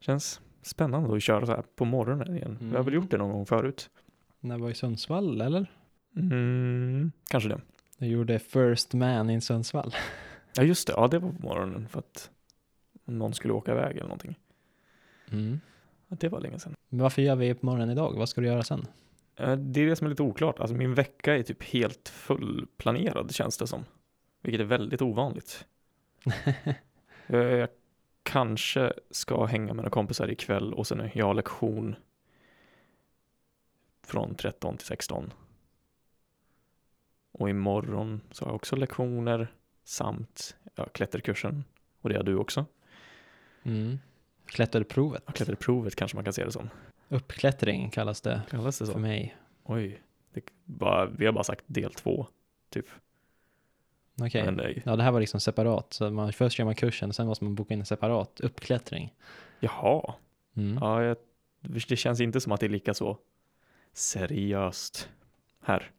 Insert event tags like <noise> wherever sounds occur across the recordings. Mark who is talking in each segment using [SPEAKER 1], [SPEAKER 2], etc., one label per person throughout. [SPEAKER 1] Känns spännande att köra så här på morgonen igen. Jag har väl
[SPEAKER 2] Mm.
[SPEAKER 1] gjort det någon gång förut.
[SPEAKER 2] När jag var i Sundsvall eller?
[SPEAKER 1] Mm, kanske det.
[SPEAKER 2] Jag gjorde First Man in Sundsvall.
[SPEAKER 1] Ja, just det. Ja, det var på morgonen för att någon skulle åka iväg eller någonting.
[SPEAKER 2] Mm.
[SPEAKER 1] Ja, det var länge sedan.
[SPEAKER 2] Men varför gör vi det på morgonen idag? Vad ska du göra sen?
[SPEAKER 1] Eh, Det är det som är lite oklart. Alltså min vecka är typ helt fullplanerad känns det som. Vilket är väldigt <laughs> ovanligt. Eh, Jag kanske ska hänga med några kompisar ikväll och sen är jag har lektion från 13 till 16. Och imorgon så har jag också lektioner samt ja, klätterkursen. Och det har du också.
[SPEAKER 2] Mm. Klätterprovet.
[SPEAKER 1] Ja, Klätterprovet kanske man kan se det som.
[SPEAKER 2] Uppklättring kallas det
[SPEAKER 1] Kallas det
[SPEAKER 2] för
[SPEAKER 1] så?
[SPEAKER 2] mig.
[SPEAKER 1] Oj. Det, bara, vi har bara sagt del två, typ.
[SPEAKER 2] Okej.
[SPEAKER 1] Men nej.
[SPEAKER 2] Ja, det här var liksom separat. Så man, först gör man kursen, sen måste man boka in en separat uppklättring.
[SPEAKER 1] Jaha.
[SPEAKER 2] Mm.
[SPEAKER 1] Ja, jag, det känns inte som att det är lika så seriöst <laughs> här.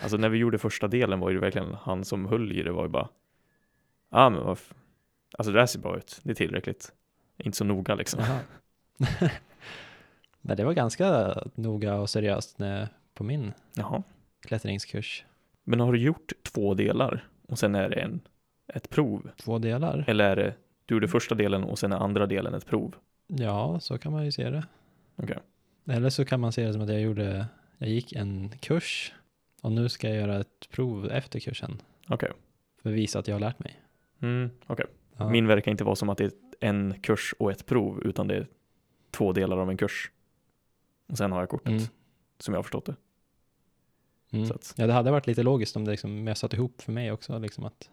[SPEAKER 1] Alltså när vi gjorde första delen var ju det verkligen han som höll i det var ju bara, ja ah, men vad, f- alltså det här ser bra ut, det är tillräckligt. Inte så noga liksom. <laughs>
[SPEAKER 2] Jaha. <laughs> Men det var ganska noga och seriöst när, på min
[SPEAKER 1] Jaha.
[SPEAKER 2] klättringskurs.
[SPEAKER 1] Men har du gjort två delar och sen är det en, ett prov?
[SPEAKER 2] Två delar.
[SPEAKER 1] Eller är det, du gjorde första delen och sen är andra delen ett prov?
[SPEAKER 2] Ja, så kan man ju se det.
[SPEAKER 1] Okej.
[SPEAKER 2] Eller så kan man se det som att jag gjorde, jag gick en kurs och nu ska jag göra ett prov efter kursen
[SPEAKER 1] Okej.
[SPEAKER 2] för att visa att jag har lärt mig.
[SPEAKER 1] Mm, okej.
[SPEAKER 2] Ja.
[SPEAKER 1] Min verkar inte vara som att det är en kurs och ett prov, utan det är två delar av en kurs. Och sen har jag kortet,
[SPEAKER 2] Mm,
[SPEAKER 1] som jag har förstått det.
[SPEAKER 2] mm.
[SPEAKER 1] Så att,
[SPEAKER 2] Ja, det hade varit lite logiskt om det liksom, jag satt ihop för mig också, liksom att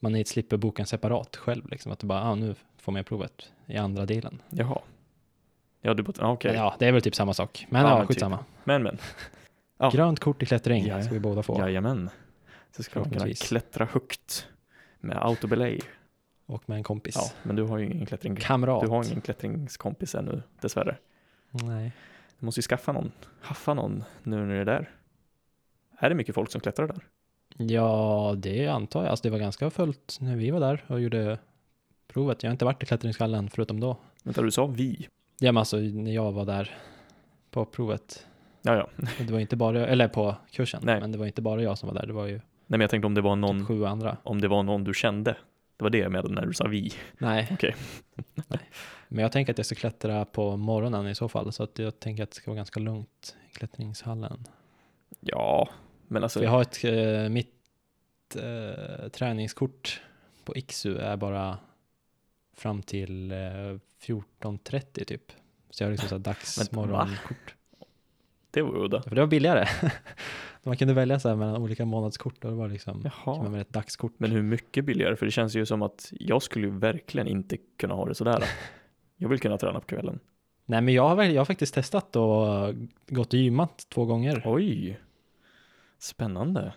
[SPEAKER 2] man inte slipper boka en separat själv, liksom att det bara, ah, nu får man provet i andra delen.
[SPEAKER 1] jaha. Ja, du bara, ah, okej.
[SPEAKER 2] Men Ja, det är väl typ samma sak, men
[SPEAKER 1] Ja,
[SPEAKER 2] ja,
[SPEAKER 1] men typ.
[SPEAKER 2] skitsamma.
[SPEAKER 1] Men, men. Ja.
[SPEAKER 2] Grönt kort i klättring
[SPEAKER 1] Ja, ja.
[SPEAKER 2] ska vi båda få,
[SPEAKER 1] Jajamän. Så ska man kunna
[SPEAKER 2] Förhoppningsvis.
[SPEAKER 1] klättra högt med autobelay.
[SPEAKER 2] och med en kompis.
[SPEAKER 1] Ja, men du har ju ingen klättring.
[SPEAKER 2] Kamrat.
[SPEAKER 1] Du har ingen klättringskompis ännu, dessvärre.
[SPEAKER 2] Nej.
[SPEAKER 1] Du måste ju skaffa någon, haffa någon nu när det är där. Är det mycket folk som klättrar där?
[SPEAKER 2] Ja, det antar jag. Alltså det var ganska fullt när vi var där och gjorde provet. Jag har inte varit i Klättringsgallen förutom då.
[SPEAKER 1] Vänta, du sa vi?
[SPEAKER 2] Ja, men alltså när jag var där
[SPEAKER 1] <laughs>
[SPEAKER 2] på provet.
[SPEAKER 1] Ja, ja. Nej,
[SPEAKER 2] Det var inte bara jag, eller på kursen,
[SPEAKER 1] Nej.
[SPEAKER 2] men det var inte bara jag som var där. Det var ju
[SPEAKER 1] men jag tänkte om det var någon
[SPEAKER 2] typ sju andra.
[SPEAKER 1] om det var någon du kände. Det var det jag menade när du sa vi.
[SPEAKER 2] Nej. <laughs>
[SPEAKER 1] Okej.
[SPEAKER 2] Nej. Men jag tänker att jag ska klättra på morgonen i så fall, så att jag tänker att det ska vara ganska lugnt i klättringshallen.
[SPEAKER 1] Ja, men alltså.
[SPEAKER 2] För jag har ett, eh, mitt eh, träningskort på Iksu är bara fram till eh, 14.30 typ. Så jag har <laughs> liksom så här dags
[SPEAKER 1] Men, va?
[SPEAKER 2] morgonkort.
[SPEAKER 1] Det var udda.
[SPEAKER 2] För det var billigare. <laughs> Man kunde välja så här mellan olika månadskort och det var liksom
[SPEAKER 1] Jaha.
[SPEAKER 2] som man ett dagskort.
[SPEAKER 1] Men hur mycket billigare? För det känns ju som att jag skulle ju verkligen inte kunna ha det sådär. Jag vill kunna träna på kvällen.
[SPEAKER 2] Nej men jag har, väl- jag har faktiskt testat och gått och gymmat två gånger
[SPEAKER 1] Oj, spännande.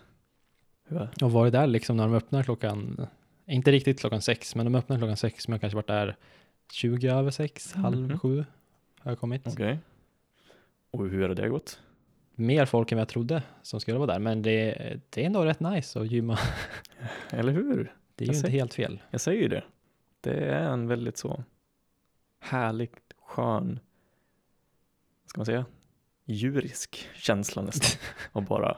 [SPEAKER 1] Hur är-
[SPEAKER 2] och varit där liksom när de öppnar klockan, inte riktigt klockan sex, men de öppnar klockan sex men jag har kanske varit där 20 över sex, halv
[SPEAKER 1] Mhm.
[SPEAKER 2] sju har jag kommit.
[SPEAKER 1] Okej. Och hur har det gått?
[SPEAKER 2] mer folk än vad jag trodde som skulle vara där. Men det, det är ändå rätt nice att gymma. <laughs>
[SPEAKER 1] Eller hur?
[SPEAKER 2] Det är
[SPEAKER 1] Jag
[SPEAKER 2] ju
[SPEAKER 1] ser.
[SPEAKER 2] inte helt fel.
[SPEAKER 1] Jag säger ju det. Det är en väldigt så härligt skön, vad ska man säga, djurisk känsla nästan. Och bara,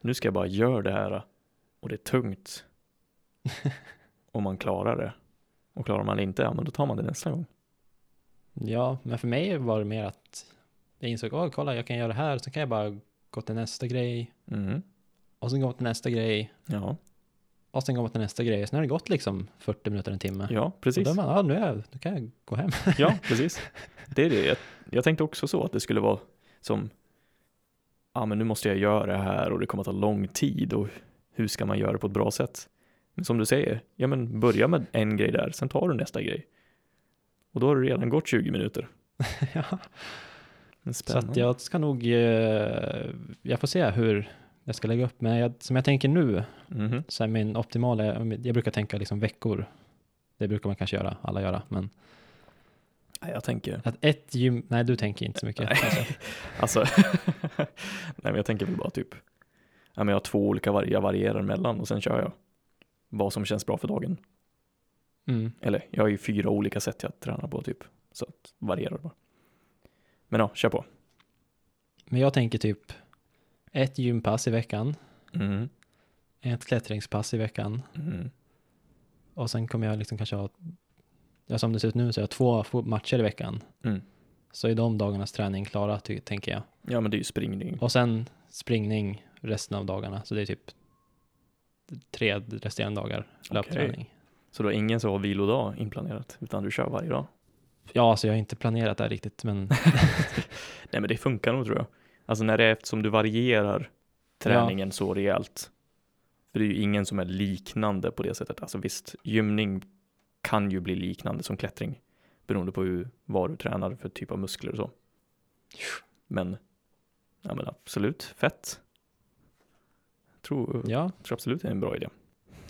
[SPEAKER 1] nu ska jag bara göra det här och det är tungt. Och man klarar det. Och klarar man det inte, ja men då tar man det nästa gång.
[SPEAKER 2] Ja, men för mig var det mer att jag insåg, åh kolla jag kan göra det här, så kan jag bara gå till nästa grej
[SPEAKER 1] Mm.
[SPEAKER 2] och sen gå till nästa grej
[SPEAKER 1] Ja,
[SPEAKER 2] och sen gå till nästa grej. Sen har det gått liksom 40 minuter, en timme.
[SPEAKER 1] ja,
[SPEAKER 2] Och
[SPEAKER 1] precis.
[SPEAKER 2] då är man, ja nu, är jag, nu kan jag gå hem. <laughs>
[SPEAKER 1] Ja, <laughs> precis. Det är det. Jag, jag tänkte också så att det skulle vara som, ja men nu måste jag göra det här och det kommer att ta lång tid och hur ska man göra det på ett bra sätt? Men som du säger, ja men börja med en grej där, sen tar du nästa grej. Och då har det redan gått 20 minuter.
[SPEAKER 2] ja.
[SPEAKER 1] Men
[SPEAKER 2] Så
[SPEAKER 1] spännande.
[SPEAKER 2] att jag ska nog, eh, jag får se hur jag ska lägga upp. Men jag, som jag tänker nu,
[SPEAKER 1] Mhm.
[SPEAKER 2] så här min optimala, jag brukar tänka liksom veckor. Det brukar man kanske göra, alla göra, men
[SPEAKER 1] Nej, Jag tänker,
[SPEAKER 2] Att ett gym... Nej, du tänker inte så mycket.
[SPEAKER 1] Nej.
[SPEAKER 2] kanske.
[SPEAKER 1] alltså, <laughs> nej men jag tänker väl bara typ, ja men jag har två olika varje, jag varierar mellan och sen kör jag vad som känns bra för dagen.
[SPEAKER 2] Mm.
[SPEAKER 1] Eller jag har ju fyra olika sätt jag tränar på typ. Så att varierar det bara. Men ja, kör på.
[SPEAKER 2] Men jag tänker typ ett gympass i veckan,
[SPEAKER 1] Mm.
[SPEAKER 2] ett klättringspass i veckan
[SPEAKER 1] Mm.
[SPEAKER 2] och sen kommer jag liksom kanske ha, ja, som det ser ut nu så har jag två fo- matcher i veckan.
[SPEAKER 1] Mm.
[SPEAKER 2] Så är de dagarnas träning klara, ty- tänker jag.
[SPEAKER 1] Ja, men det är ju springning.
[SPEAKER 2] Och sen springning resten av dagarna, så det är typ tre resterande dagar löpträning.
[SPEAKER 1] Så du har ingen så vilodag inplanerat, utan du kör varje dag.
[SPEAKER 2] Ja, alltså jag har inte planerat det här
[SPEAKER 1] <laughs>
[SPEAKER 2] riktigt, men
[SPEAKER 1] Nej, men det funkar nog tror jag. Alltså när det är eftersom du varierar träningen så rejält. För det är ju ingen som är liknande på det sättet. Alltså visst, gymning kan ju bli liknande som klättring beroende på hur, vad du tränar för typ av muskler och så. Men, ja men absolut, fett. Tror,
[SPEAKER 2] ja.
[SPEAKER 1] tror absolut det är en bra idé.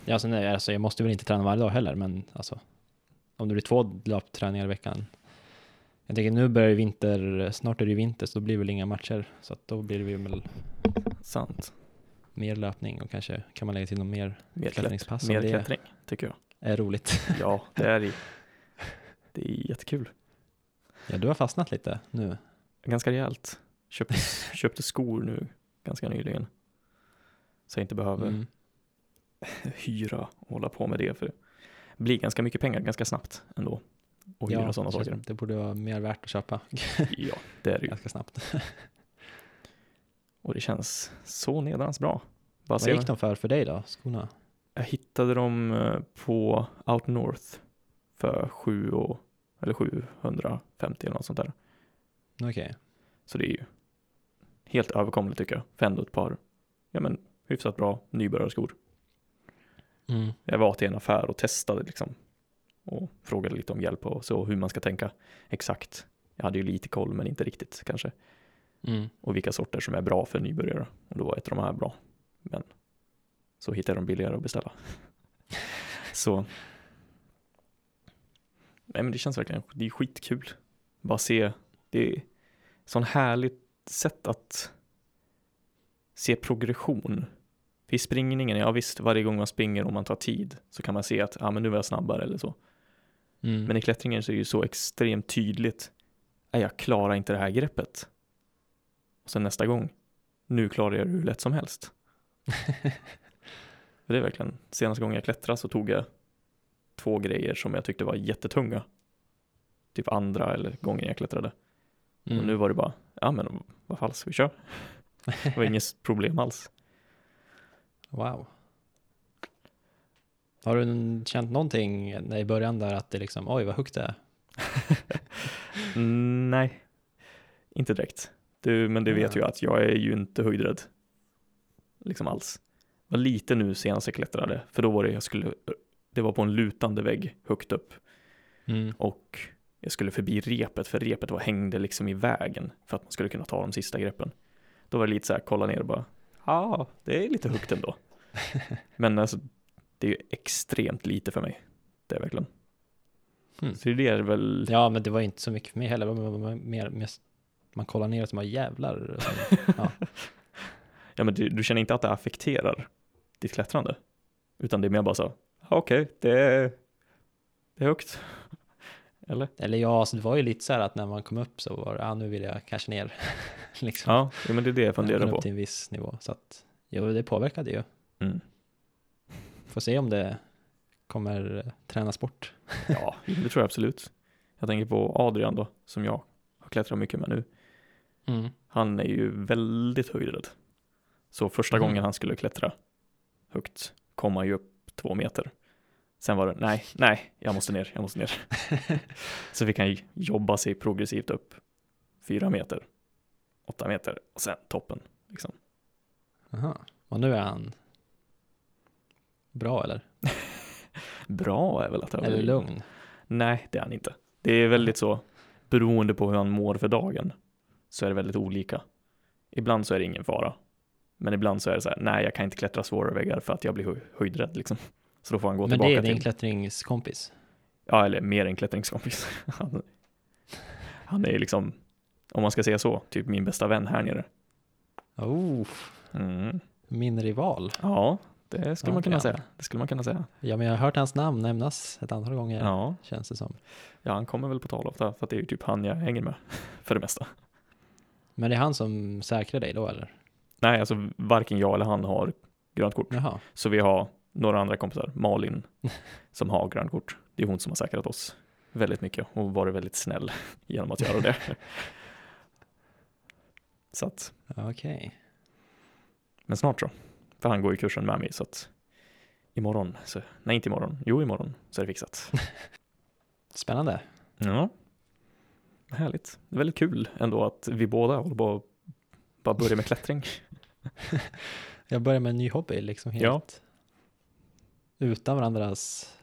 [SPEAKER 2] ja alltså, nej, alltså jag måste väl inte träna varje dag heller, men alltså om det blir två löpträningar i veckan. Jag tänker nu börjar ju vinter, snart är det ju vinter, så då blir det väl inga matcher, så att då blir det väl
[SPEAKER 1] Sant.
[SPEAKER 2] mer löpning och kanske kan man lägga till något mer
[SPEAKER 1] Mer, klätt,
[SPEAKER 2] klättringspass
[SPEAKER 1] mer
[SPEAKER 2] om Alltså, det
[SPEAKER 1] klättring, tycker jag.
[SPEAKER 2] är roligt. <laughs>
[SPEAKER 1] Ja, det är, i- det är jättekul.
[SPEAKER 2] Ja, du har fastnat lite nu.
[SPEAKER 1] ganska rejält.
[SPEAKER 2] <laughs>
[SPEAKER 1] Köpte, köpte skor nu ganska nyligen. Så jag inte behöver
[SPEAKER 2] Mm.
[SPEAKER 1] hyra och hålla på med det för det blir ganska mycket pengar ganska snabbt ändå. Och hyra sådana
[SPEAKER 2] så
[SPEAKER 1] saker.
[SPEAKER 2] Det borde vara mer värt att köpa <laughs>
[SPEAKER 1] Ja, det är det ju.
[SPEAKER 2] ganska snabbt.
[SPEAKER 1] Och det känns så nedrans bra. Bara
[SPEAKER 2] Vad
[SPEAKER 1] se,
[SPEAKER 2] gick de för för dig då, skorna?
[SPEAKER 1] jag hittade dem eh, på Out North för 7 och, eller 750 eller något sånt där.
[SPEAKER 2] Okej,
[SPEAKER 1] Så det är ju helt överkomligt tycker jag. För ändå ett par, ja men hyfsat bra nybörjarskor.
[SPEAKER 2] mm.
[SPEAKER 1] Jag var till en affär och testade liksom. Och frågade lite om hjälp och så hur man ska tänka exakt. Jag hade ju lite koll men inte riktigt kanske.
[SPEAKER 2] Mm.
[SPEAKER 1] Och vilka sorter som är bra för nybörjare. Och då var ett av de här bra. Men så hittade jag dem billigare att beställa. <laughs> så. Nej men det känns verkligen, det är skitkul. Bara se, det är sån härligt sätt att se progression. För i springningen, ja visst varje gång man springer och man tar tid så kan man se att ah, men nu var jag snabbare eller så.
[SPEAKER 2] Mm.
[SPEAKER 1] Men i klättringen så är det ju så extremt tydligt. Nej, jag klarar inte det här greppet. Och sen nästa gång. Nu klarar jag det hur lätt som
[SPEAKER 2] <laughs>
[SPEAKER 1] helst. För det är verkligen, senaste gången jag klättrade så tog jag två grejer som jag tyckte var jättetunga. Typ andra eller gången jag klättrade. Och
[SPEAKER 2] Mm.
[SPEAKER 1] nu var det bara, ja men vad falskt, vi kör. Det
[SPEAKER 2] <laughs>
[SPEAKER 1] var inget problem alls.
[SPEAKER 2] Wow. Har du n- känt någonting när i början där att det liksom, oj vad högt det är?
[SPEAKER 1] Mm, nej, inte direkt. Du, men du vet
[SPEAKER 2] Ja.
[SPEAKER 1] ju att jag är ju inte höjdrädd. Liksom alls. Var lite nu senast jag klättrade, för då var det jag skulle, det var på en lutande vägg högt upp
[SPEAKER 2] Mm.
[SPEAKER 1] och jag skulle förbi repet, för repet var hängde liksom i vägen för att man skulle kunna ta de sista greppen. Då var det lite så här, kolla ner och bara, ja, ah, det är lite högt ändå. men alltså, det är ju extremt lite för mig. Det är verkligen.
[SPEAKER 2] Mm.
[SPEAKER 1] Så det är väl
[SPEAKER 2] Ja, men det var inte så mycket för mig heller. Det var mer- mer, mest, man kollar ner och så bara jävlar. Och sen-
[SPEAKER 1] Ja, men du, du känner inte att det affekterar ditt klättrande? Utan det är mer bara så, "Ja, okej, det, är, det är högt. Eller?
[SPEAKER 2] Eller ja, alltså, det var ju lite så här att när man kom upp så var det, ah, nu vill jag kanske ner. <laughs> liksom.
[SPEAKER 1] Ja, ja, men det är det jag
[SPEAKER 2] När man
[SPEAKER 1] funderar
[SPEAKER 2] kom
[SPEAKER 1] på.
[SPEAKER 2] upp till en viss nivå. Så att, jo, det påverkade ju.
[SPEAKER 1] Mm.
[SPEAKER 2] Får se om det kommer eh, tränas bort.
[SPEAKER 1] Ja, det tror jag absolut. Jag tänker på Adrian då, som jag har klättrat mycket med nu. Mm. Han är ju väldigt höjdrädd. Så första
[SPEAKER 2] Mhm.
[SPEAKER 1] gången han skulle klättra högt kom han ju upp två meter. Sen var det nej, nej, jag måste ner, jag måste ner. så fick han ju jobba sig progressivt upp fyra meter, åtta meter och sen toppen. Liksom.
[SPEAKER 2] Aha. Och nu är han bra eller?
[SPEAKER 1] Bra är väl att
[SPEAKER 2] Eller
[SPEAKER 1] överdriva.
[SPEAKER 2] lugn?
[SPEAKER 1] Nej, det är han inte. Det är väldigt så, beroende på hur han mår för dagen, så är det väldigt olika. Ibland så är det ingen fara, men ibland så är det så här, nej, jag kan inte klättra svårare väggar för att jag blir hö- höjdrädd liksom. Så då får han gå
[SPEAKER 2] Men det
[SPEAKER 1] tillbaka
[SPEAKER 2] är din
[SPEAKER 1] till,
[SPEAKER 2] klättringskompis?
[SPEAKER 1] ja, eller mer en klättringskompis. <laughs> Han, han är ju liksom, om man ska säga så, typ min bästa vän här nere.
[SPEAKER 2] Oh,
[SPEAKER 1] Mm.
[SPEAKER 2] min rival.
[SPEAKER 1] Ja, Det skulle
[SPEAKER 2] Ja,
[SPEAKER 1] man kunna
[SPEAKER 2] ja.
[SPEAKER 1] säga. Det skulle man kunna säga.
[SPEAKER 2] Ja, men jag har hört hans namn nämnas ett antal gånger,
[SPEAKER 1] Ja,
[SPEAKER 2] känns det som.
[SPEAKER 1] ja han kommer väl på tal ofta för att det är ju typ han jag hänger med <laughs> för det mesta.
[SPEAKER 2] Men det är han som säkrar dig då, eller?
[SPEAKER 1] Nej, alltså varken jag eller han har grönt kort.
[SPEAKER 2] Jaha.
[SPEAKER 1] Så vi har några andra kompisar, Malin, som har grönt kort. Det är hon som har säkrat oss väldigt mycket och varit väldigt snäll <laughs> genom att göra det. så att,
[SPEAKER 2] Okej.
[SPEAKER 1] men snart så. För han går ju kursen med mig så att imorgon, så, nej inte imorgon, jo imorgon så är det fixat.
[SPEAKER 2] Spännande.
[SPEAKER 1] Ja. Härligt. Det är väldigt kul ändå att vi båda håller på att bara börja med klättring.
[SPEAKER 2] Jag börjar med en ny hobby, liksom helt
[SPEAKER 1] Ja.
[SPEAKER 2] utan varandras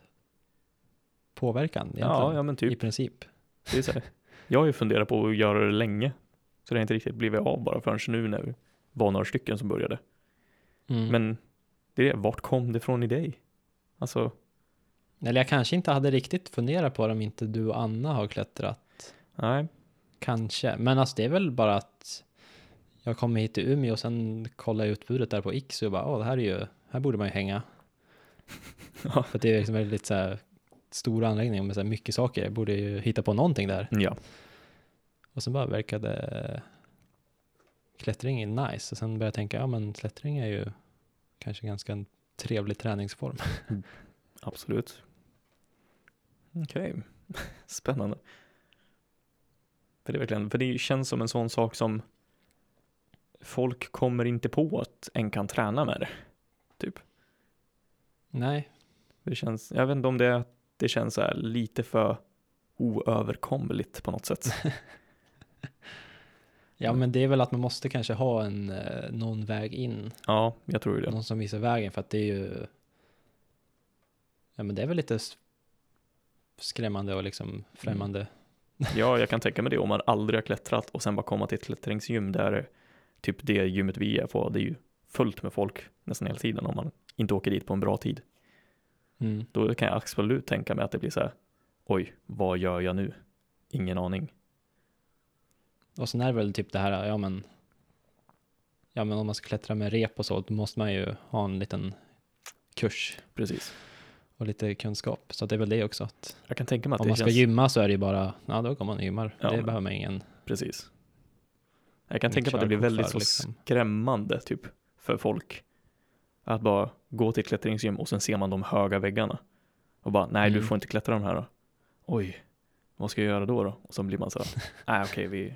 [SPEAKER 2] påverkan egentligen,
[SPEAKER 1] Ja, ja men
[SPEAKER 2] i
[SPEAKER 1] typ.
[SPEAKER 2] princip.
[SPEAKER 1] Det är så här. Jag har ju funderat på att göra det länge. Så det har inte riktigt blivit av bara förrän nu när vi var några stycken som började.
[SPEAKER 2] Mm.
[SPEAKER 1] Men det är det, vart kom det ifrån i dig? Alltså,
[SPEAKER 2] Eller jag kanske inte hade riktigt funderat på det om inte du och Anna har klättrat.
[SPEAKER 1] nej.
[SPEAKER 2] Kanske, men alltså det är väl bara att jag kom hit till Umeå och sen kollade jag utbudet där på X och bara, åh, det här är ju, här borde man ju hänga.
[SPEAKER 1] Ja.
[SPEAKER 2] För att det är liksom väldigt så här stora anläggningar med så här mycket saker, jag borde ju hitta på någonting där.
[SPEAKER 1] Ja.
[SPEAKER 2] Och sen bara verkade klättring är nice och sen började jag tänka, ja men klättring är ju kanske ganska en trevlig träningsform. <laughs>
[SPEAKER 1] Absolut. Okej, <laughs> spännande. För det, är verkligen, för det känns som en sån sak som folk kommer inte på att en kan träna med det.
[SPEAKER 2] Nej,
[SPEAKER 1] det känns, jag vet inte om det är att det känns så här lite för oöverkomligt på något sätt.
[SPEAKER 2] ja men det är väl att man måste kanske ha en, eh, någon väg in
[SPEAKER 1] Ja, jag tror ju det.
[SPEAKER 2] någon som visar vägen för att det är ju ja men det är väl lite s- skrämmande och liksom främmande
[SPEAKER 1] Ja, jag kan tänka mig det om man aldrig har klättrat och sen bara komma till ett klättringsgym där typ det gymmet vi är på, det är ju fullt med folk nästan hela tiden om man inte åker dit på en bra tid.
[SPEAKER 2] mm.
[SPEAKER 1] Då kan jag absolut tänka mig att det blir så här, oj, vad gör jag nu? Ingen aning.
[SPEAKER 2] och sen är det väl typ det här ja men ja men om man ska klättra med rep och så då måste man ju ha en liten kurs
[SPEAKER 1] Precis.
[SPEAKER 2] och lite kunskap så att det är väl det också att
[SPEAKER 1] Jag kan tänka mig att
[SPEAKER 2] om
[SPEAKER 1] det
[SPEAKER 2] man ska
[SPEAKER 1] känns...
[SPEAKER 2] gymma så är det ju bara ja då går man och gymmar
[SPEAKER 1] Ja,
[SPEAKER 2] det
[SPEAKER 1] men-
[SPEAKER 2] behöver man ingen
[SPEAKER 1] Precis. Jag kan
[SPEAKER 2] Mitt
[SPEAKER 1] tänka mig att det blir
[SPEAKER 2] körkort
[SPEAKER 1] väldigt
[SPEAKER 2] för,
[SPEAKER 1] så
[SPEAKER 2] liksom.
[SPEAKER 1] skrämmande typ för folk. Att bara gå till ett klättringsgym och sen ser man de höga väggarna. Och bara, nej du
[SPEAKER 2] Mm.
[SPEAKER 1] får inte klättra de här då. Oj, vad ska jag göra då då? Och så blir man så här,
[SPEAKER 2] <laughs>
[SPEAKER 1] nej okej vi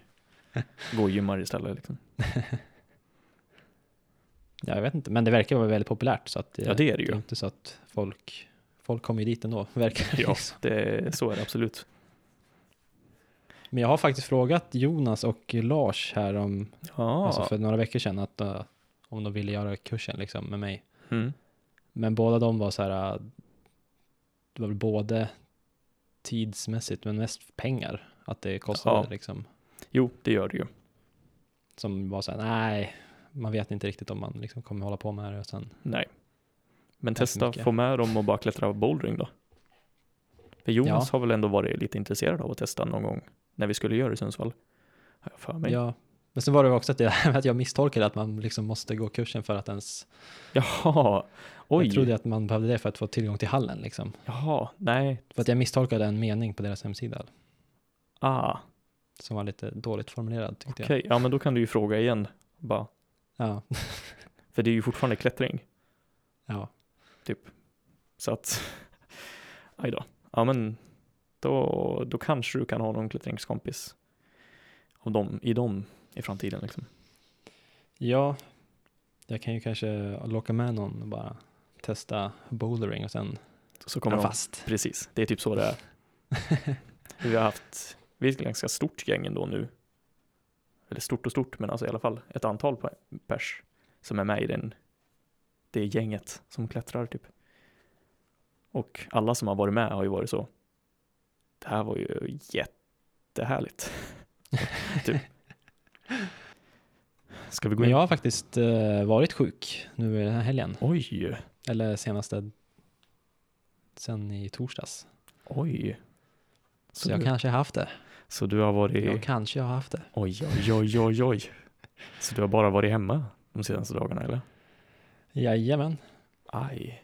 [SPEAKER 1] går och gymmar istället. Liksom.
[SPEAKER 2] ja, jag vet inte men det verkar vara väldigt populärt så att eh,
[SPEAKER 1] Ja det är det
[SPEAKER 2] det är
[SPEAKER 1] ju.
[SPEAKER 2] inte så att folk folk kommer ju dit ändå <laughs> verkar det
[SPEAKER 1] Ja,
[SPEAKER 2] liksom.
[SPEAKER 1] det, så är det absolut.
[SPEAKER 2] men jag har faktiskt frågat Jonas och Lars här om
[SPEAKER 1] Ja,
[SPEAKER 2] Alltså för några veckor sedan att eh, om de ville göra kursen liksom med mig.
[SPEAKER 1] mm.
[SPEAKER 2] Men båda de var så här, eh, det var väl både tidsmässigt men mest pengar. Att det kostade
[SPEAKER 1] Ja.
[SPEAKER 2] liksom.
[SPEAKER 1] jo det gör det ju.
[SPEAKER 2] Som var så här, nej, man vet inte riktigt om man liksom kommer hålla på med det. Och sen,
[SPEAKER 1] Nej. Men
[SPEAKER 2] Tack så
[SPEAKER 1] testa
[SPEAKER 2] mycket.
[SPEAKER 1] få med dem och bara klättra bouldering då. För Jonas har väl ändå varit lite intresserad av att testa någon gång när vi skulle göra det i Sundsvall. Har jag för mig.
[SPEAKER 2] ja. Men sen var det också att, det, här med att jag misstolkade att man liksom måste gå kursen för att ens,
[SPEAKER 1] Jaha, oj.
[SPEAKER 2] jag trodde att man behövde det för att få tillgång till hallen liksom.
[SPEAKER 1] Jaha, nej,
[SPEAKER 2] För att jag misstolkade en mening på deras hemsida
[SPEAKER 1] ah,
[SPEAKER 2] som var lite dåligt formulerad tyckte
[SPEAKER 1] okej. Ja, men då kan du ju fråga igen. Bara.
[SPEAKER 2] jag. Ja,
[SPEAKER 1] För det är ju fortfarande klättring. Typ.
[SPEAKER 2] ja.
[SPEAKER 1] Så att, <laughs> aj då. Ja, men då, då kanske du kan ha någon klättringskompis av dem, i dem i framtiden liksom.
[SPEAKER 2] Ja, jag kan ju kanske locka med någon och bara testa bouldering och sen
[SPEAKER 1] Så
[SPEAKER 2] kommer
[SPEAKER 1] kommer de
[SPEAKER 2] fast.
[SPEAKER 1] Precis, det är typ så det
[SPEAKER 2] <laughs>
[SPEAKER 1] är. Vi har haft, vi är ett ganska stort gäng ändå nu. Eller stort och stort, men alltså i alla fall ett antal pe- pers som är med i den, det gänget som klättrar typ. Och alla som har varit med har ju varit så. Det här var ju jättehärligt. <laughs> typ. Ska vi gå
[SPEAKER 2] Men
[SPEAKER 1] in?
[SPEAKER 2] jag har faktiskt eh, varit sjuk nu i den här helgen,
[SPEAKER 1] Oj,
[SPEAKER 2] eller senaste sen i torsdags.
[SPEAKER 1] oj.
[SPEAKER 2] Så jag
[SPEAKER 1] du,
[SPEAKER 2] kanske har haft det.
[SPEAKER 1] så du har varit...
[SPEAKER 2] Jag kanske har haft det.
[SPEAKER 1] Oj, oj, oj, oj, oj. Så du har bara varit hemma de senaste dagarna eller?
[SPEAKER 2] Jajamän.
[SPEAKER 1] Aj.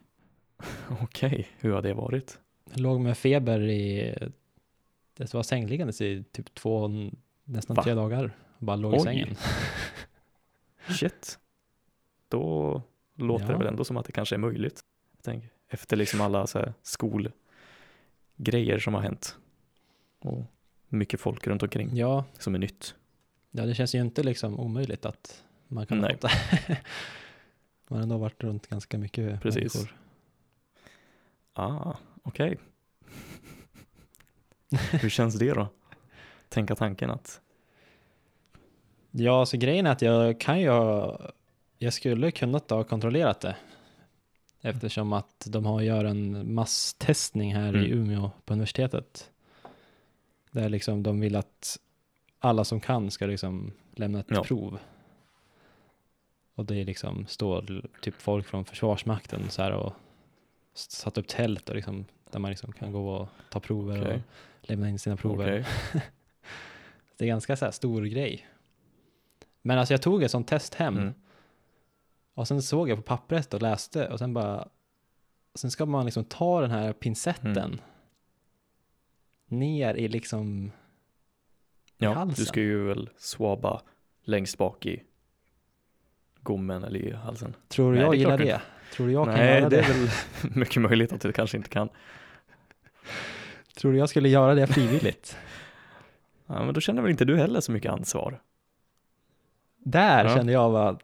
[SPEAKER 1] Okej, hur har det varit?
[SPEAKER 2] Jag låg med feber i, det var sängliggandes i typ två, nästan
[SPEAKER 1] Va?
[SPEAKER 2] tre dagar. Bara låg i
[SPEAKER 1] Oj.
[SPEAKER 2] sängen.
[SPEAKER 1] Shit. Då låter
[SPEAKER 2] Ja.
[SPEAKER 1] det väl ändå som att det kanske är möjligt. Jag tänker, efter liksom alla så här skolgrejer som har hänt. Och mycket folk runt omkring
[SPEAKER 2] Ja,
[SPEAKER 1] som är nytt.
[SPEAKER 2] ja, det känns ju inte liksom omöjligt att man kan ha
[SPEAKER 1] Nej.
[SPEAKER 2] fått det. <laughs> Man har ändå varit runt ganska mycket
[SPEAKER 1] Precis.
[SPEAKER 2] människor.
[SPEAKER 1] Ah, okej. <laughs> hur känns det då? Tänka tanken att,
[SPEAKER 2] Ja, så grejen är att jag kan ju ha, jag skulle kunnat ha kontrollerat det. Eftersom att de har gör en masstestning här i
[SPEAKER 1] Mm.
[SPEAKER 2] Umeå på universitetet. Där liksom de vill att alla som kan ska liksom lämna ett
[SPEAKER 1] Ja.
[SPEAKER 2] prov. Och det är liksom står typ folk från Försvarsmakten så här och s- satt upp tält och liksom, där man liksom kan gå och ta prover
[SPEAKER 1] Okej.
[SPEAKER 2] och lämna in sina prover.
[SPEAKER 1] okej,
[SPEAKER 2] Det är ganska så här stor grej. Men alltså jag tog ett sånt test hem
[SPEAKER 1] Mm.
[SPEAKER 2] och sen såg jag på pappret och läste och sen bara sen ska man liksom ta den här pincetten
[SPEAKER 1] Mm.
[SPEAKER 2] ner i liksom
[SPEAKER 1] ja,
[SPEAKER 2] halsen.
[SPEAKER 1] du ska ju väl swaba längst bak i gommen eller i halsen. <laughs>
[SPEAKER 2] tror du
[SPEAKER 1] Nej,
[SPEAKER 2] jag
[SPEAKER 1] det är
[SPEAKER 2] gillar
[SPEAKER 1] klart du
[SPEAKER 2] det? Tror du jag kan
[SPEAKER 1] Nej,
[SPEAKER 2] göra
[SPEAKER 1] det
[SPEAKER 2] det?
[SPEAKER 1] är väl mycket möjligt att du kanske inte kan.
[SPEAKER 2] Tror du jag skulle göra det frivilligt?
[SPEAKER 1] Ja, men då känner väl inte du heller så mycket ansvar?
[SPEAKER 2] Där
[SPEAKER 1] Ja.
[SPEAKER 2] kände jag bara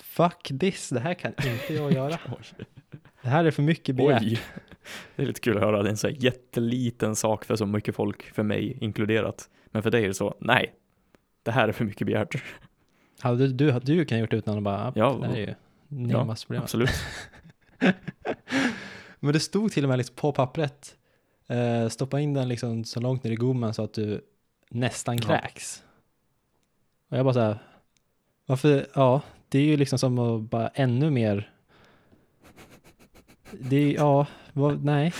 [SPEAKER 2] fuck this, det här kan inte jag göra. Det här är för mycket begärt.
[SPEAKER 1] Oj, det är lite kul att höra. Det är en så här jätteliten sak för så mycket folk, för mig inkluderat. Men för dig är det så, nej, det här är för mycket begärt.
[SPEAKER 2] Hade du, du, du kan ha gjort det utan att bara, ja,
[SPEAKER 1] Ja,
[SPEAKER 2] det här är ju
[SPEAKER 1] ja,
[SPEAKER 2] närmast
[SPEAKER 1] Absolut.
[SPEAKER 2] Men det stod till och med liksom på pappret, eh, stoppa in den liksom så långt ner i gommen så att du nästan
[SPEAKER 1] Ja.
[SPEAKER 2] kräks. Och jag bara så här, varför, ja, det är ju liksom som att bara ännu mer, det är, ja, vad, nej,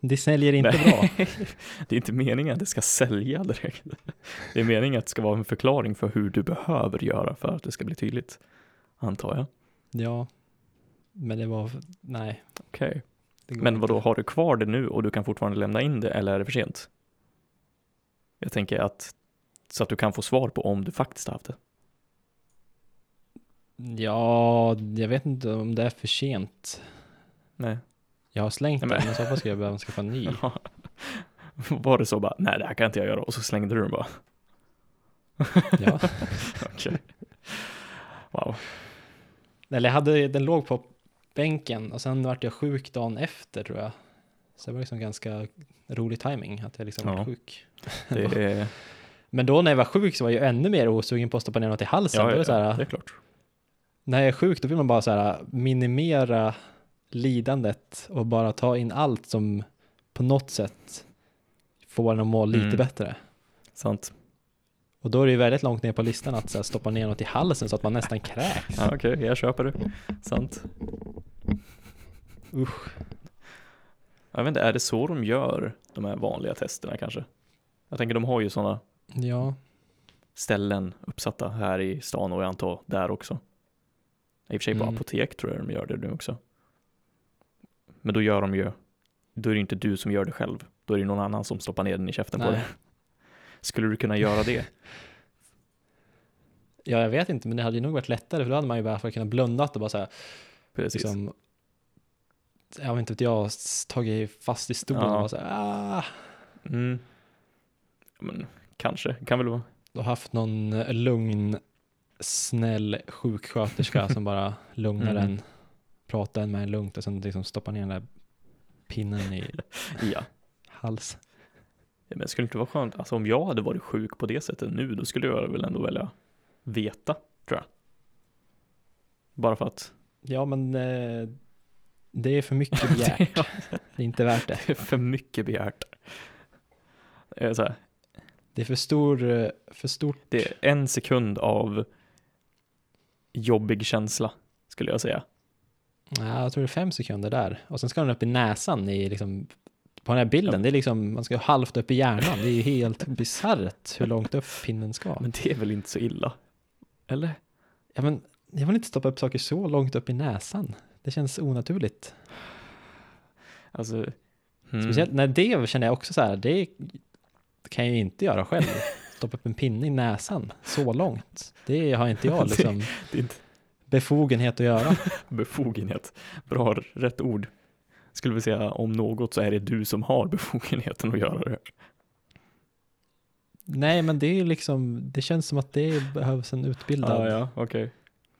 [SPEAKER 2] det säljer inte
[SPEAKER 1] Nej.
[SPEAKER 2] bra.
[SPEAKER 1] <laughs> Det är inte meningen att det ska sälja direkt. Det är meningen att det ska vara en förklaring för hur du behöver göra för att det ska bli tydligt. Antar jag.
[SPEAKER 2] Ja, men det var, nej.
[SPEAKER 1] Okej.
[SPEAKER 2] Det går
[SPEAKER 1] Men
[SPEAKER 2] inte.
[SPEAKER 1] vadå, har du kvar det nu och du kan fortfarande lämna in det eller är det för sent? Jag tänker att så att du kan få svar på om du faktiskt har haft det.
[SPEAKER 2] Ja, jag vet inte om det är för sent.
[SPEAKER 1] Nej. <laughs>
[SPEAKER 2] Jag har slängt
[SPEAKER 1] Nej,
[SPEAKER 2] den,
[SPEAKER 1] men-
[SPEAKER 2] men i så fall ska jag behöva skaffa en
[SPEAKER 1] <laughs>
[SPEAKER 2] ny.
[SPEAKER 1] Ja. Var det så bara, nej det här kan inte jag göra och så slängde du den bara. <laughs>
[SPEAKER 2] Ja.
[SPEAKER 1] Okej. Wow.
[SPEAKER 2] Eller jag hade, den låg på bänken och sen vart jag sjuk dagen efter tror jag. Så det var liksom ganska rolig timing att jag liksom
[SPEAKER 1] Ja.
[SPEAKER 2] var sjuk.
[SPEAKER 1] Det är,
[SPEAKER 2] Men då när jag var sjuk så var jag ju ännu mer osugen på att stoppa ner något i halsen.
[SPEAKER 1] ja,
[SPEAKER 2] då är
[SPEAKER 1] ja,
[SPEAKER 2] det så här, äh.
[SPEAKER 1] det är klart.
[SPEAKER 2] När jag är sjuk då vill man bara så här, minimera lidandet och bara ta in allt som på något sätt får en att må lite
[SPEAKER 1] Mm.
[SPEAKER 2] bättre.
[SPEAKER 1] Sant.
[SPEAKER 2] Och då är det ju väldigt långt ner på listan att så här, stoppa ner något i halsen så att man nästan kräks.
[SPEAKER 1] Ja, Okej, jag köper det. Sant.
[SPEAKER 2] Usch.
[SPEAKER 1] Jag vet inte, är det så de gör de här vanliga testerna kanske? Jag tänker de har ju sådana
[SPEAKER 2] Ja.
[SPEAKER 1] ställen uppsatta här i stan och jag antar där också. I och för sig på
[SPEAKER 2] Mm.
[SPEAKER 1] apotek tror jag de gör det nu också. Men då gör de ju, då är det inte du som gör det själv. Då är det någon annan som stoppar ner den i käften på
[SPEAKER 2] Nej.
[SPEAKER 1] dig. <laughs> Skulle du kunna göra
[SPEAKER 2] <laughs>
[SPEAKER 1] det?
[SPEAKER 2] Ja, jag vet inte, men det hade ju nog varit lättare för då hade man ju i alla fall kunnat blunda och bara så här,
[SPEAKER 1] Precis.
[SPEAKER 2] liksom, jag vet inte, att jag s- tagit fast i stolen och
[SPEAKER 1] Ja.
[SPEAKER 2] bara så här, ah,
[SPEAKER 1] Mm. Men, kanske, kan väl vara.
[SPEAKER 2] och haft någon eh, lugn, snäll
[SPEAKER 1] <laughs>
[SPEAKER 2] sjuksköterska som bara lugnar
[SPEAKER 1] Mm.
[SPEAKER 2] en, pratar en med en lugnt och sen liksom stoppar ner den där
[SPEAKER 1] <laughs>
[SPEAKER 2] pinnen i
[SPEAKER 1] Ja.
[SPEAKER 2] hals.
[SPEAKER 1] Ja, Men skulle det inte vara skönt, alltså om jag hade varit sjuk på det sättet nu, då skulle jag väl ändå välja veta, tror jag. Bara för att
[SPEAKER 2] Ja, men eh, det är
[SPEAKER 1] <laughs>
[SPEAKER 2] för mycket begärt.
[SPEAKER 1] Ja.
[SPEAKER 2] Det är inte värt det.
[SPEAKER 1] det är <laughs> för mycket begärt. Det är Så här,
[SPEAKER 2] Det är för stor, eh, för stort,
[SPEAKER 1] det är en sekund av jobbig känsla, skulle jag säga.
[SPEAKER 2] ja, jag tror det är fem sekunder där. Och sen ska den upp i näsan i liksom, på den här bilden, det är liksom, man ska halvt upp i hjärnan. Det är
[SPEAKER 1] <laughs>
[SPEAKER 2] ju helt bisarrt hur långt upp pinnen ska.
[SPEAKER 1] Men det är väl inte så illa? Eller?
[SPEAKER 2] Ja, men jag vill inte stoppa upp saker så långt upp i näsan. Det känns onaturligt.
[SPEAKER 1] Alltså, mm.
[SPEAKER 2] Speciellt när det känner jag också så här, det kan jag ju inte göra själv. Stoppa upp en pinne i näsan så långt. Det har
[SPEAKER 1] <laughs>
[SPEAKER 2] inte jag liksom
[SPEAKER 1] det är inte
[SPEAKER 2] befogenhet att göra.
[SPEAKER 1] befogenhet. Bra, rätt ord. Skulle vi säga om något så är det du som har befogenheten att göra det.
[SPEAKER 2] Nej, men det är liksom, det känns som att det behövs en utbildad
[SPEAKER 1] ja, okej.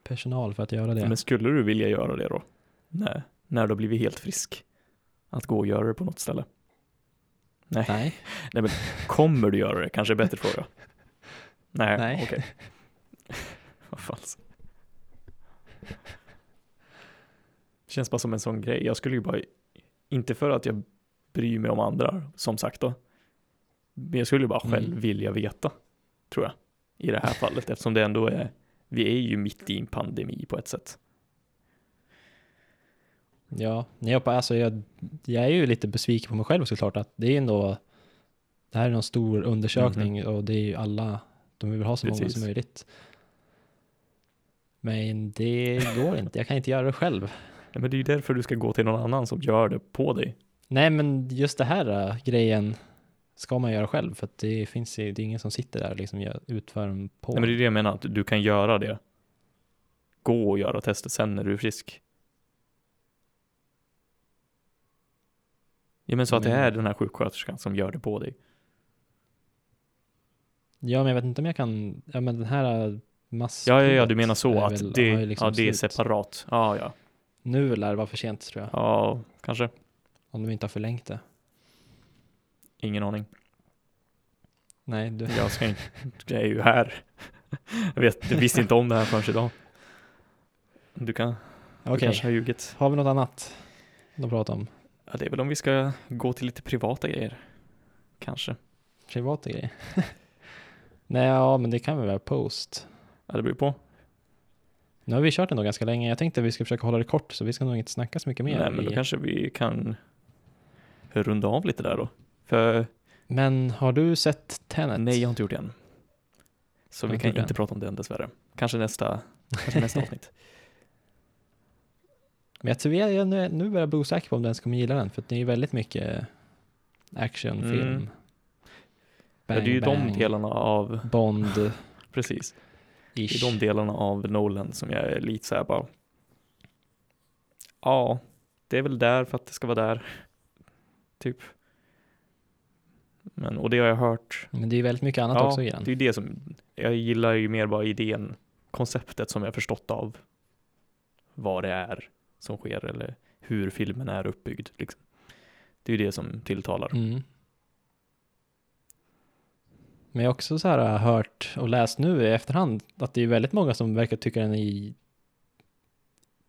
[SPEAKER 2] personal för att göra det.
[SPEAKER 1] Men skulle du vilja göra det då? Nej, när du har blivit helt frisk. Att gå och göra det på något ställe.
[SPEAKER 2] Nej,
[SPEAKER 1] Kommer du göra det? Kanske är bättre <laughs> fråga. Nej,
[SPEAKER 2] Nej.
[SPEAKER 1] <laughs> okej. Vad fan. alltså. Känns bara som en sån grej. Jag skulle ju bara, inte för att jag bryr mig om andra, som sagt då. Men jag skulle ju bara själv
[SPEAKER 2] Mm.
[SPEAKER 1] vilja veta, tror jag. I det här fallet, eftersom det ändå är, vi är ju mitt i en pandemi på ett sätt.
[SPEAKER 2] ja, nej, jag, bara- alltså, jag, jag är ju lite besviken på mig själv såklart att det är ändå, det här är någon stor undersökning och det är ju alla, de vill ha så många
[SPEAKER 1] Mhm. Precis.
[SPEAKER 2] som möjligt. Men det går inte, jag kan inte göra det själv.
[SPEAKER 1] Nej, men det är ju därför du ska gå till någon annan som gör det på dig.
[SPEAKER 2] Nej, men just det här äh, grejen ska man göra själv för att det finns ju, det är ingen som sitter där och liksom gör- utför en på.
[SPEAKER 1] Nej, men det är det jag menar, att du kan göra det. Gå och göra testet sen när du är frisk. Ja, men så att det är den här sjuksköterskan som gör det på dig.
[SPEAKER 2] Ja, men jag vet inte om jag kan, ja men den här äh, mask.
[SPEAKER 1] Ja, ja, ja, du menar så att det,
[SPEAKER 2] har ju liksom
[SPEAKER 1] ja, det är
[SPEAKER 2] slut.
[SPEAKER 1] separat. Ja, ja,
[SPEAKER 2] Nu lär det vara för sent tror jag,
[SPEAKER 1] ja, kanske.
[SPEAKER 2] om de inte har förlängt det.
[SPEAKER 1] Ingen aning.
[SPEAKER 2] <laughs> Nej, du,
[SPEAKER 1] Jag, ska inte, jag är ju här. Jag, vet, jag visste inte om det här förrän idag. Du kan, du
[SPEAKER 2] okej.
[SPEAKER 1] kanske har ljugit.
[SPEAKER 2] Har vi något annat att prata om?
[SPEAKER 1] Ja, det är väl om vi ska gå till lite privata grejer. Kanske.
[SPEAKER 2] Privata grejer? <laughs> Nej, ja, men det kan väl vara post.
[SPEAKER 1] Ja, det beror på.
[SPEAKER 2] Nu har vi kört ändå ganska länge. Jag tänkte att vi ska försöka hålla det kort, så vi ska nog inte snacka så mycket mer.
[SPEAKER 1] Nej, men då
[SPEAKER 2] i-
[SPEAKER 1] kanske vi kan runda av lite där då. För
[SPEAKER 2] men har du sett Tenet?
[SPEAKER 1] nej, jag har inte gjort det än. Så
[SPEAKER 2] Jag har
[SPEAKER 1] vi
[SPEAKER 2] inte
[SPEAKER 1] kan
[SPEAKER 2] gjort det
[SPEAKER 1] inte
[SPEAKER 2] än.
[SPEAKER 1] prata om den dessvärre. Kanske nästa, kanske
[SPEAKER 2] <laughs>
[SPEAKER 1] nästa avsnitt.
[SPEAKER 2] Men jag tror jag, jag nu, nu börjar jag bli osäker på om du ens kommer gilla den, för att det är ju väldigt mycket actionfilm.
[SPEAKER 1] Mm. ja, det är ju de delarna av,
[SPEAKER 2] Bond-ish.
[SPEAKER 1] precis, det är de delarna av Nolan som jag är lite så här bara, ja, det är väl där för att det ska vara där, typ. Men, och det har jag hört
[SPEAKER 2] Men det är ju väldigt mycket annat
[SPEAKER 1] Ja,
[SPEAKER 2] också i den.
[SPEAKER 1] Det är ju det som, jag gillar ju mer bara idén, konceptet som jag förstått av vad det är som sker eller hur filmen är uppbyggd. Liksom. Det är ju det som tilltalar.
[SPEAKER 2] Mm. Men jag har också så här äh, hört och läst nu i efterhand att det är väldigt många som verkar tycka den är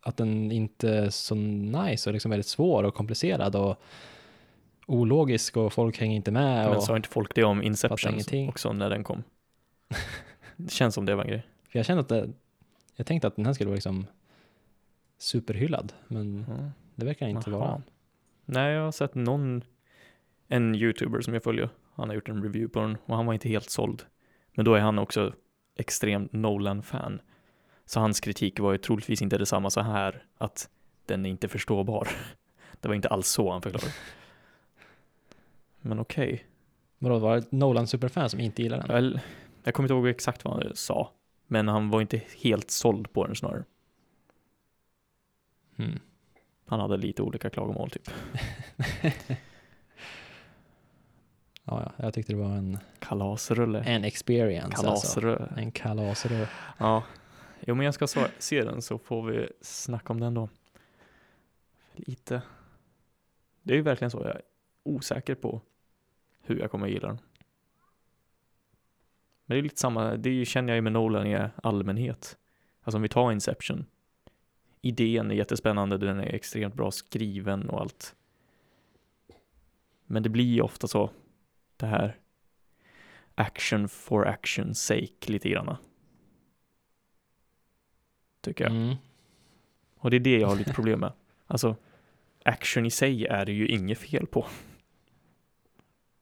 [SPEAKER 2] att den inte är så nice och liksom väldigt svår och komplicerad och ologisk och folk hänger inte med.
[SPEAKER 1] Men
[SPEAKER 2] Och
[SPEAKER 1] sa inte folk det om Inception
[SPEAKER 2] ingenting.
[SPEAKER 1] också när den
[SPEAKER 2] <laughs>
[SPEAKER 1] kom? Det känns som det var en grej.
[SPEAKER 2] för jag kände att det, jag tänkte att den här skulle vara liksom superhyllad, men det verkar den inte
[SPEAKER 1] Jaha.
[SPEAKER 2] vara.
[SPEAKER 1] Nej, jag har sett någon, en youtuber som jag följer, han har gjort en review på den och han var inte helt såld. Men då är han också extremt Nolan-fan. Så hans kritik var ju troligtvis inte detsamma så här, att den är inte förståbar. <laughs> Det var inte alls så han förklarade. Men okej.
[SPEAKER 2] Mm. Men då var det ett Nolan-superfan som inte gillar den?
[SPEAKER 1] Jag, jag kommer inte ihåg exakt vad han sa, men han var inte helt såld på den snarare.
[SPEAKER 2] Mm.
[SPEAKER 1] Han hade lite olika klagomål typ.
[SPEAKER 2] Ja, ja, jag tyckte det var en,
[SPEAKER 1] Kalasrulle.
[SPEAKER 2] en experience. Alltså.
[SPEAKER 1] Kalasrulle.
[SPEAKER 2] En kalasrö.
[SPEAKER 1] Ja, jo men jag ska så- se den så får vi snacka om den då. Lite. Det är ju verkligen så, jag är osäker på hur jag kommer gilla den. Men det är lite samma, det är ju, känner jag ju med Nolan i allmänhet. Alltså om vi tar Inception. Idén är jättespännande, den är extremt bra skriven och allt. Men det blir ju ofta så, det här action for action sake lite granna. Tycker jag.
[SPEAKER 2] Mm.
[SPEAKER 1] Och det är det jag har lite problem med. Alltså, action i sig är det ju inget fel på.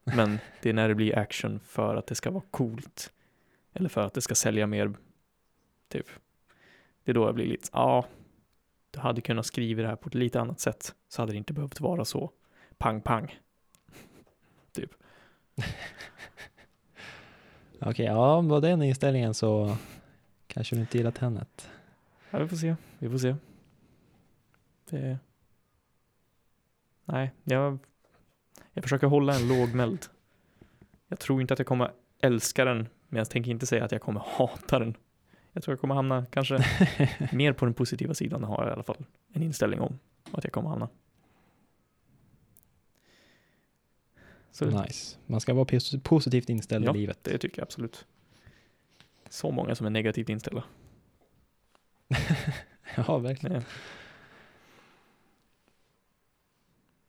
[SPEAKER 1] Men det är när det blir action för att det ska vara coolt. Eller för att det ska sälja mer, typ. Det är då jag blir lite, ja, du hade kunnat skriva det här på ett lite annat sätt så hade det inte behövt vara så pang pang. typ.
[SPEAKER 2] Okej, ja, med den inställningen så kanske du inte gillar Tenet.
[SPEAKER 1] Ja, vi får se. Vi får se. Det... Nej, jag... jag försöker hålla en låg mäld. Jag tror inte att jag kommer älska den, men jag tänker inte säga att jag kommer hata den. Jag tror jag kommer hamna kanske mer på den positiva sidan, har jag i alla fall en inställning om att jag kommer hamna. Så
[SPEAKER 2] Nice. Man ska vara pos- positivt inställd
[SPEAKER 1] Ja,
[SPEAKER 2] i livet. <laughs>
[SPEAKER 1] det tycker jag absolut. Så många som är negativt inställda. <laughs>
[SPEAKER 2] Ja, verkligen.
[SPEAKER 1] Nej.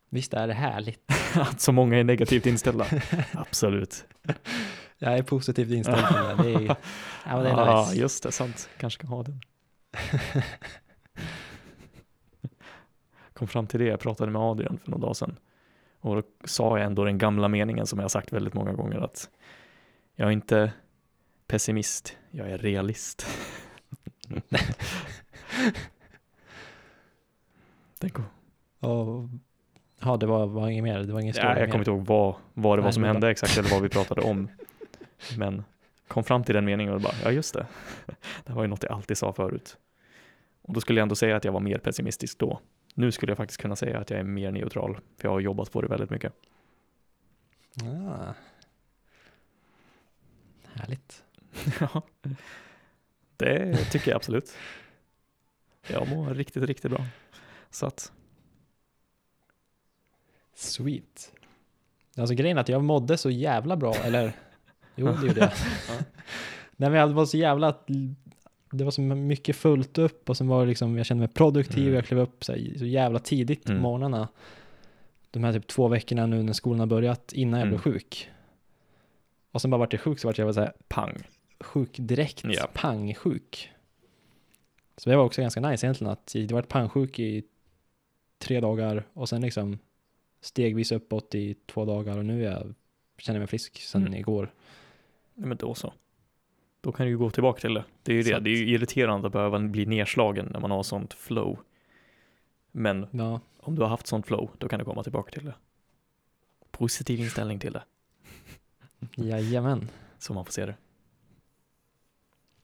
[SPEAKER 2] Visst är det härligt?
[SPEAKER 1] Att så många är negativt inställda. absolut.
[SPEAKER 2] Jag är positivt inställd till det. det är,
[SPEAKER 1] <laughs>
[SPEAKER 2] ja, men det är
[SPEAKER 1] ah,
[SPEAKER 2] nice.
[SPEAKER 1] just det, sant. Kanske kan ha
[SPEAKER 2] <laughs>
[SPEAKER 1] den. Kom fram till det, jag pratade med Adrian för några dagar sedan. Och då sa jag ändå den gamla meningen som jag har sagt väldigt många gånger att jag är inte pessimist, jag är
[SPEAKER 2] <laughs>
[SPEAKER 1] realist. <laughs> den kom,
[SPEAKER 2] Och, ja, det var, var inget mer. Det var ingen story
[SPEAKER 1] ja, jag
[SPEAKER 2] mer.
[SPEAKER 1] kommer inte ihåg vad, vad det var
[SPEAKER 2] Nej,
[SPEAKER 1] som
[SPEAKER 2] men-
[SPEAKER 1] hände exakt eller vad
[SPEAKER 2] <laughs>
[SPEAKER 1] vi pratade om. Men kom fram till den meningen och bara, ja just det. <laughs> Det var ju något jag alltid sa förut. Och då skulle jag ändå säga att jag var mer pessimistisk då. Nu skulle jag faktiskt kunna säga att jag är mer neutral, för jag har jobbat på det väldigt mycket. <laughs>
[SPEAKER 2] Ah. Härligt.
[SPEAKER 1] Ja, det tycker jag absolut. Jag mår riktigt, riktigt bra. Så att,
[SPEAKER 2] Sweet. Alltså grejen är att jag mådde så jävla bra, eller jo
[SPEAKER 1] <laughs>
[SPEAKER 2] det gjorde jag. Nej men jag var så jävla, att- det var så mycket fullt upp och sen var det liksom, jag kände mig produktiv,
[SPEAKER 1] Mm.
[SPEAKER 2] jag klev upp så, här, så jävla tidigt på
[SPEAKER 1] Mm.
[SPEAKER 2] morgnarna. De här typ två veckorna nu när skolan har börjat, innan jag
[SPEAKER 1] Mm.
[SPEAKER 2] blev sjuk. Och sen bara vart jag sjuk så vart jag så här
[SPEAKER 1] pang.
[SPEAKER 2] sjuk direkt,
[SPEAKER 1] Ja.
[SPEAKER 2] pangsjuk. Så det var också ganska nice egentligen att jag varit pangsjuk i tre dagar och sen liksom stegvis uppåt i två dagar och nu är jag, känner jag mig frisk sen
[SPEAKER 1] Mm.
[SPEAKER 2] igår.
[SPEAKER 1] Nej, men då så. Då kan du ju gå tillbaka till det. Det är ju det.
[SPEAKER 2] Sant.
[SPEAKER 1] Det är ju irriterande att behöva bli nedslagen när man har sånt flow. Men
[SPEAKER 2] Ja,
[SPEAKER 1] om du har haft sånt flow, då kan du komma tillbaka till det. Positiv inställning till det,
[SPEAKER 2] jajamän.
[SPEAKER 1] så man får se det.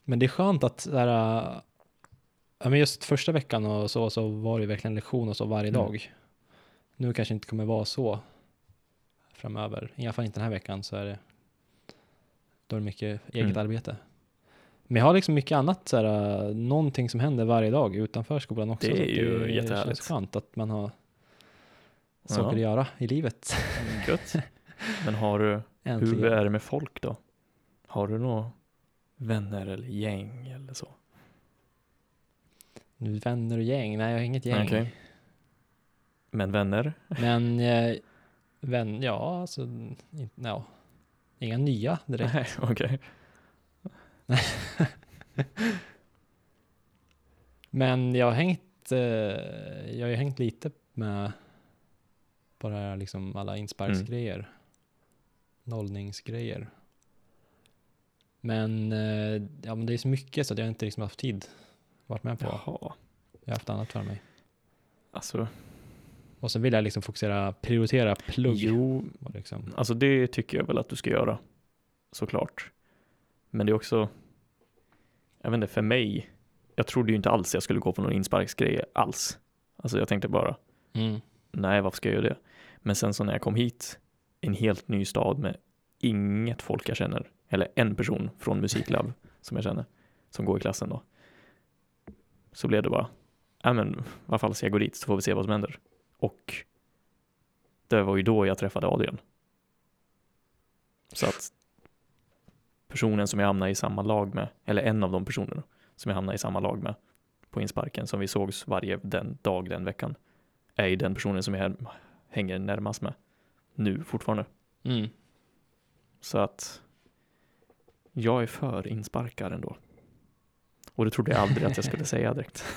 [SPEAKER 2] Men det är skönt att så här, äh, ja, men just första veckan och så, så var det verkligen lektion och så varje
[SPEAKER 1] Mm.
[SPEAKER 2] dag. Nu kanske inte kommer vara så framöver. I alla fall inte den här veckan så är det då är det mycket eget
[SPEAKER 1] Mm.
[SPEAKER 2] arbete. Men jag har liksom mycket annat, så här, äh, någonting som händer varje dag utanför skolan också.
[SPEAKER 1] Det
[SPEAKER 2] så
[SPEAKER 1] är
[SPEAKER 2] att
[SPEAKER 1] ju jättehärligt.
[SPEAKER 2] känns skönt att man har saker
[SPEAKER 1] Ja.
[SPEAKER 2] att göra i livet. <laughs>
[SPEAKER 1] <laughs> Gött. Men har du, hur
[SPEAKER 2] Äntligen.
[SPEAKER 1] är det med folk då? Har du några vänner eller gäng eller så?
[SPEAKER 2] Nu vänner och gäng. Nej, jag har inget gäng.
[SPEAKER 1] Okej. Men vänner?
[SPEAKER 2] Men, eh, vän, ja, alltså, in, ja. inga nya direkt.
[SPEAKER 1] <laughs> Nej, okej.
[SPEAKER 2] Men jag har hängt, eh, jag har ju hängt lite med bara liksom alla insparksgrejer,
[SPEAKER 1] Mm.
[SPEAKER 2] nollningsgrejer. Men, eh, ja, men det är så mycket så att jag inte liksom haft tid varit med på.
[SPEAKER 1] Jaha,
[SPEAKER 2] Jag har haft annat för mig.
[SPEAKER 1] alltså.
[SPEAKER 2] Och sen vill jag liksom fokusera, prioritera plugg.
[SPEAKER 1] Jo,
[SPEAKER 2] Och liksom,
[SPEAKER 1] Alltså det tycker jag väl att du ska göra, såklart. Men det är också, jag vet inte, för mig, jag trodde ju inte alls jag skulle gå på någon insparksgrej alls. Alltså jag tänkte bara,
[SPEAKER 2] mm,
[SPEAKER 1] nej varför ska jag göra det? Men sen så när jag kom hit, en helt ny stad med inget folk jag känner, eller en person från musiklabb som jag känner, som går i klassen då. Så blev det bara, nej men vad fan ska jag gå dit så får vi se vad som händer. Och det var ju då jag träffade Adrian. Så att personen som jag hamnade i samma lag med, eller en av de personerna som jag hamnade i samma lag med på insparken som vi sågs varje den dag den veckan är ju den personen som jag hänger närmast med nu fortfarande.
[SPEAKER 2] mm.
[SPEAKER 1] Så att jag är för insparkar ändå. Och det trodde jag aldrig att jag
[SPEAKER 2] <laughs>
[SPEAKER 1] skulle säga direkt. <laughs>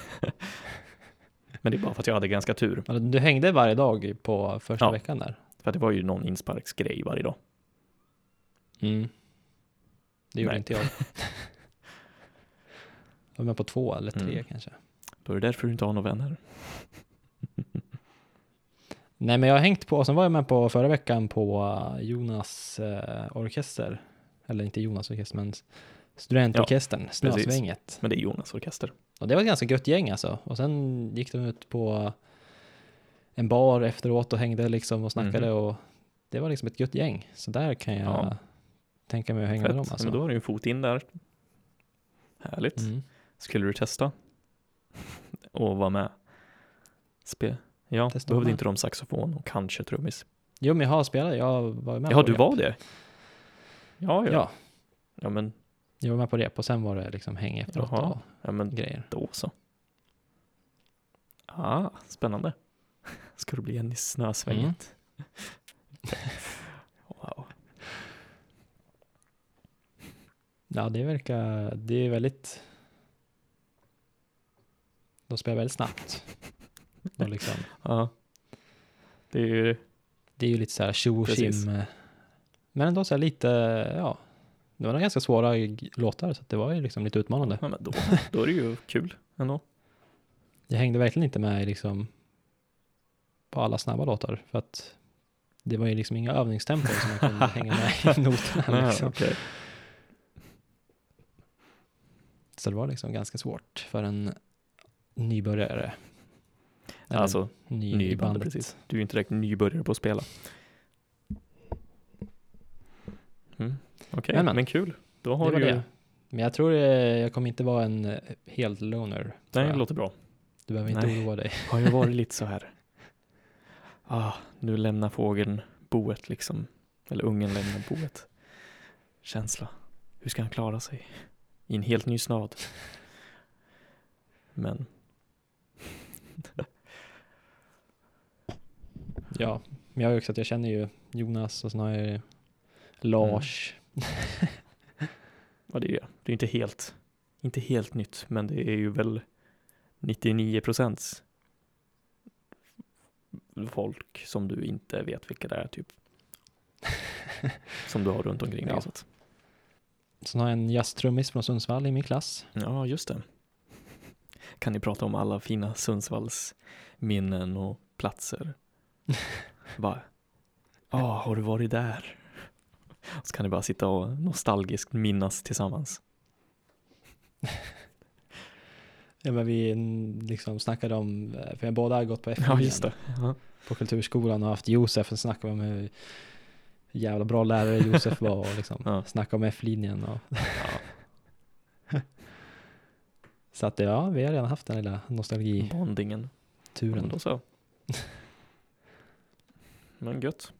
[SPEAKER 1] Men det är bara för att jag hade ganska tur.
[SPEAKER 2] Alltså, Du hängde varje dag på första
[SPEAKER 1] Ja.
[SPEAKER 2] veckan där?
[SPEAKER 1] För att det var ju någon insparksgrej varje dag.
[SPEAKER 2] Mm. Det gjorde
[SPEAKER 1] Nej. <laughs>
[SPEAKER 2] inte jag. jag var med på två eller tre
[SPEAKER 1] Mm.
[SPEAKER 2] kanske.
[SPEAKER 1] Då är det därför du inte har några vänner.
[SPEAKER 2] Nej, men jag har hängt på, och sen var jag med på förra veckan på eh, Jonas eh, orkester. Eller inte Jonas orkester, men studentorkestern, Snösvänget.
[SPEAKER 1] Men det är Jonas orkester.
[SPEAKER 2] Och det var ett ganska gött gäng alltså. Och sen gick de ut på en bar efteråt och hängde liksom och snackade och det var liksom ett gött gäng. Så där kan jag
[SPEAKER 1] Mhm. Ja.
[SPEAKER 2] tänka mig att hänga med dem
[SPEAKER 1] Fett.
[SPEAKER 2] alltså.
[SPEAKER 1] Men då har du ju en fot in där. Härligt.
[SPEAKER 2] Mm.
[SPEAKER 1] Skulle du testa? <laughs> Och vara med? Spe- ja,
[SPEAKER 2] Testa
[SPEAKER 1] behövde
[SPEAKER 2] med.
[SPEAKER 1] inte de saxofon och kanske trummis?
[SPEAKER 2] Jo, men jag har spelat, jag var med
[SPEAKER 1] Ja,
[SPEAKER 2] på
[SPEAKER 1] du
[SPEAKER 2] rep.
[SPEAKER 1] var det? Ja,
[SPEAKER 2] Ja.
[SPEAKER 1] ja. Ja, men,
[SPEAKER 2] jag var med på rep och sen var det liksom häng efteråt
[SPEAKER 1] Jaha. ja,
[SPEAKER 2] och
[SPEAKER 1] men
[SPEAKER 2] grejer.
[SPEAKER 1] då så. Ah, spännande. <laughs> Ska du bli en i snösvänget?
[SPEAKER 2] Mm.
[SPEAKER 1] <laughs> wow.
[SPEAKER 2] Ja, det verkar, det är väldigt, de spelar
[SPEAKER 1] <laughs>
[SPEAKER 2] väldigt snabbt. De liksom,
[SPEAKER 1] Ja. Det är ju
[SPEAKER 2] det är ju lite så här tjo och
[SPEAKER 1] Precis.
[SPEAKER 2] tjim, eh, Men ändå så här lite, ja, det var några ganska svåra g- låtar så att det var ju liksom lite utmanande.
[SPEAKER 1] Ja, men då, då är det ju kul ändå.
[SPEAKER 2] Jag hängde verkligen inte med i liksom på alla snabba låtar för att det var ju liksom inga övningstempo som
[SPEAKER 1] <laughs>
[SPEAKER 2] jag kunde hänga med i noterna liksom.
[SPEAKER 1] okej.
[SPEAKER 2] Så det var liksom ganska svårt för en nybörjare. Eller
[SPEAKER 1] Alltså,
[SPEAKER 2] ny, i
[SPEAKER 1] nybörjare,
[SPEAKER 2] bandet.
[SPEAKER 1] precis. du är ju inte direkt nybörjare på att spela. Mm. Okej,
[SPEAKER 2] Men, men.
[SPEAKER 1] men. kul. Då
[SPEAKER 2] Det
[SPEAKER 1] har
[SPEAKER 2] var
[SPEAKER 1] du ju...
[SPEAKER 2] det. Men jag tror eh, jag kommer inte vara en eh, helt loner. tror
[SPEAKER 1] Nej, det
[SPEAKER 2] jag.
[SPEAKER 1] låter bra.
[SPEAKER 2] Du behöver inte
[SPEAKER 1] Nej.
[SPEAKER 2] oroa dig. <laughs>
[SPEAKER 1] Har ju varit lite så här. Ah, nu lämnar fågeln boet liksom. Eller ungen lämnar boet. Känsla. Hur ska han klara sig? I en helt ny stad. Men
[SPEAKER 2] Ja, men jag har ju också att jag känner ju Jonas och sen har jag ju Lars.
[SPEAKER 1] Mm. Ja, det är ju det. är inte helt, inte helt nytt, men det är ju väl 99 procents folk som du inte vet vilka det är, typ. Som du har runt omkring dig.
[SPEAKER 2] Ja.
[SPEAKER 1] Så att,
[SPEAKER 2] Sen har jag en jazztrummis från Sundsvall i min klass.
[SPEAKER 1] ja, just det. Kan ni prata om alla fina Sundsvalls minnen och <laughs> platser? Bara, ja, har du varit där? Så kan ni bara sitta och nostalgiskt minnas tillsammans.
[SPEAKER 2] Ja, men vi mm, liksom snackade om, eh, för jag båda har gått på
[SPEAKER 1] Ja,
[SPEAKER 2] FNN
[SPEAKER 1] just det. Ja.
[SPEAKER 2] på kulturskolan och haft Josef och snackat om hur jävla bra lärare Josef var och liksom
[SPEAKER 1] <laughs> Ja.
[SPEAKER 2] snacka om F-linjen och så att ja, vi har redan haft den lilla nostalgituren.
[SPEAKER 1] Bondingen. Ja, men Då så. Men gött.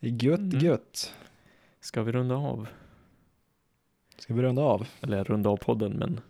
[SPEAKER 2] Gött,
[SPEAKER 1] Mm.
[SPEAKER 2] gött.
[SPEAKER 1] Ska vi runda av?
[SPEAKER 2] Ska vi runda av?
[SPEAKER 1] Eller runda av podden, men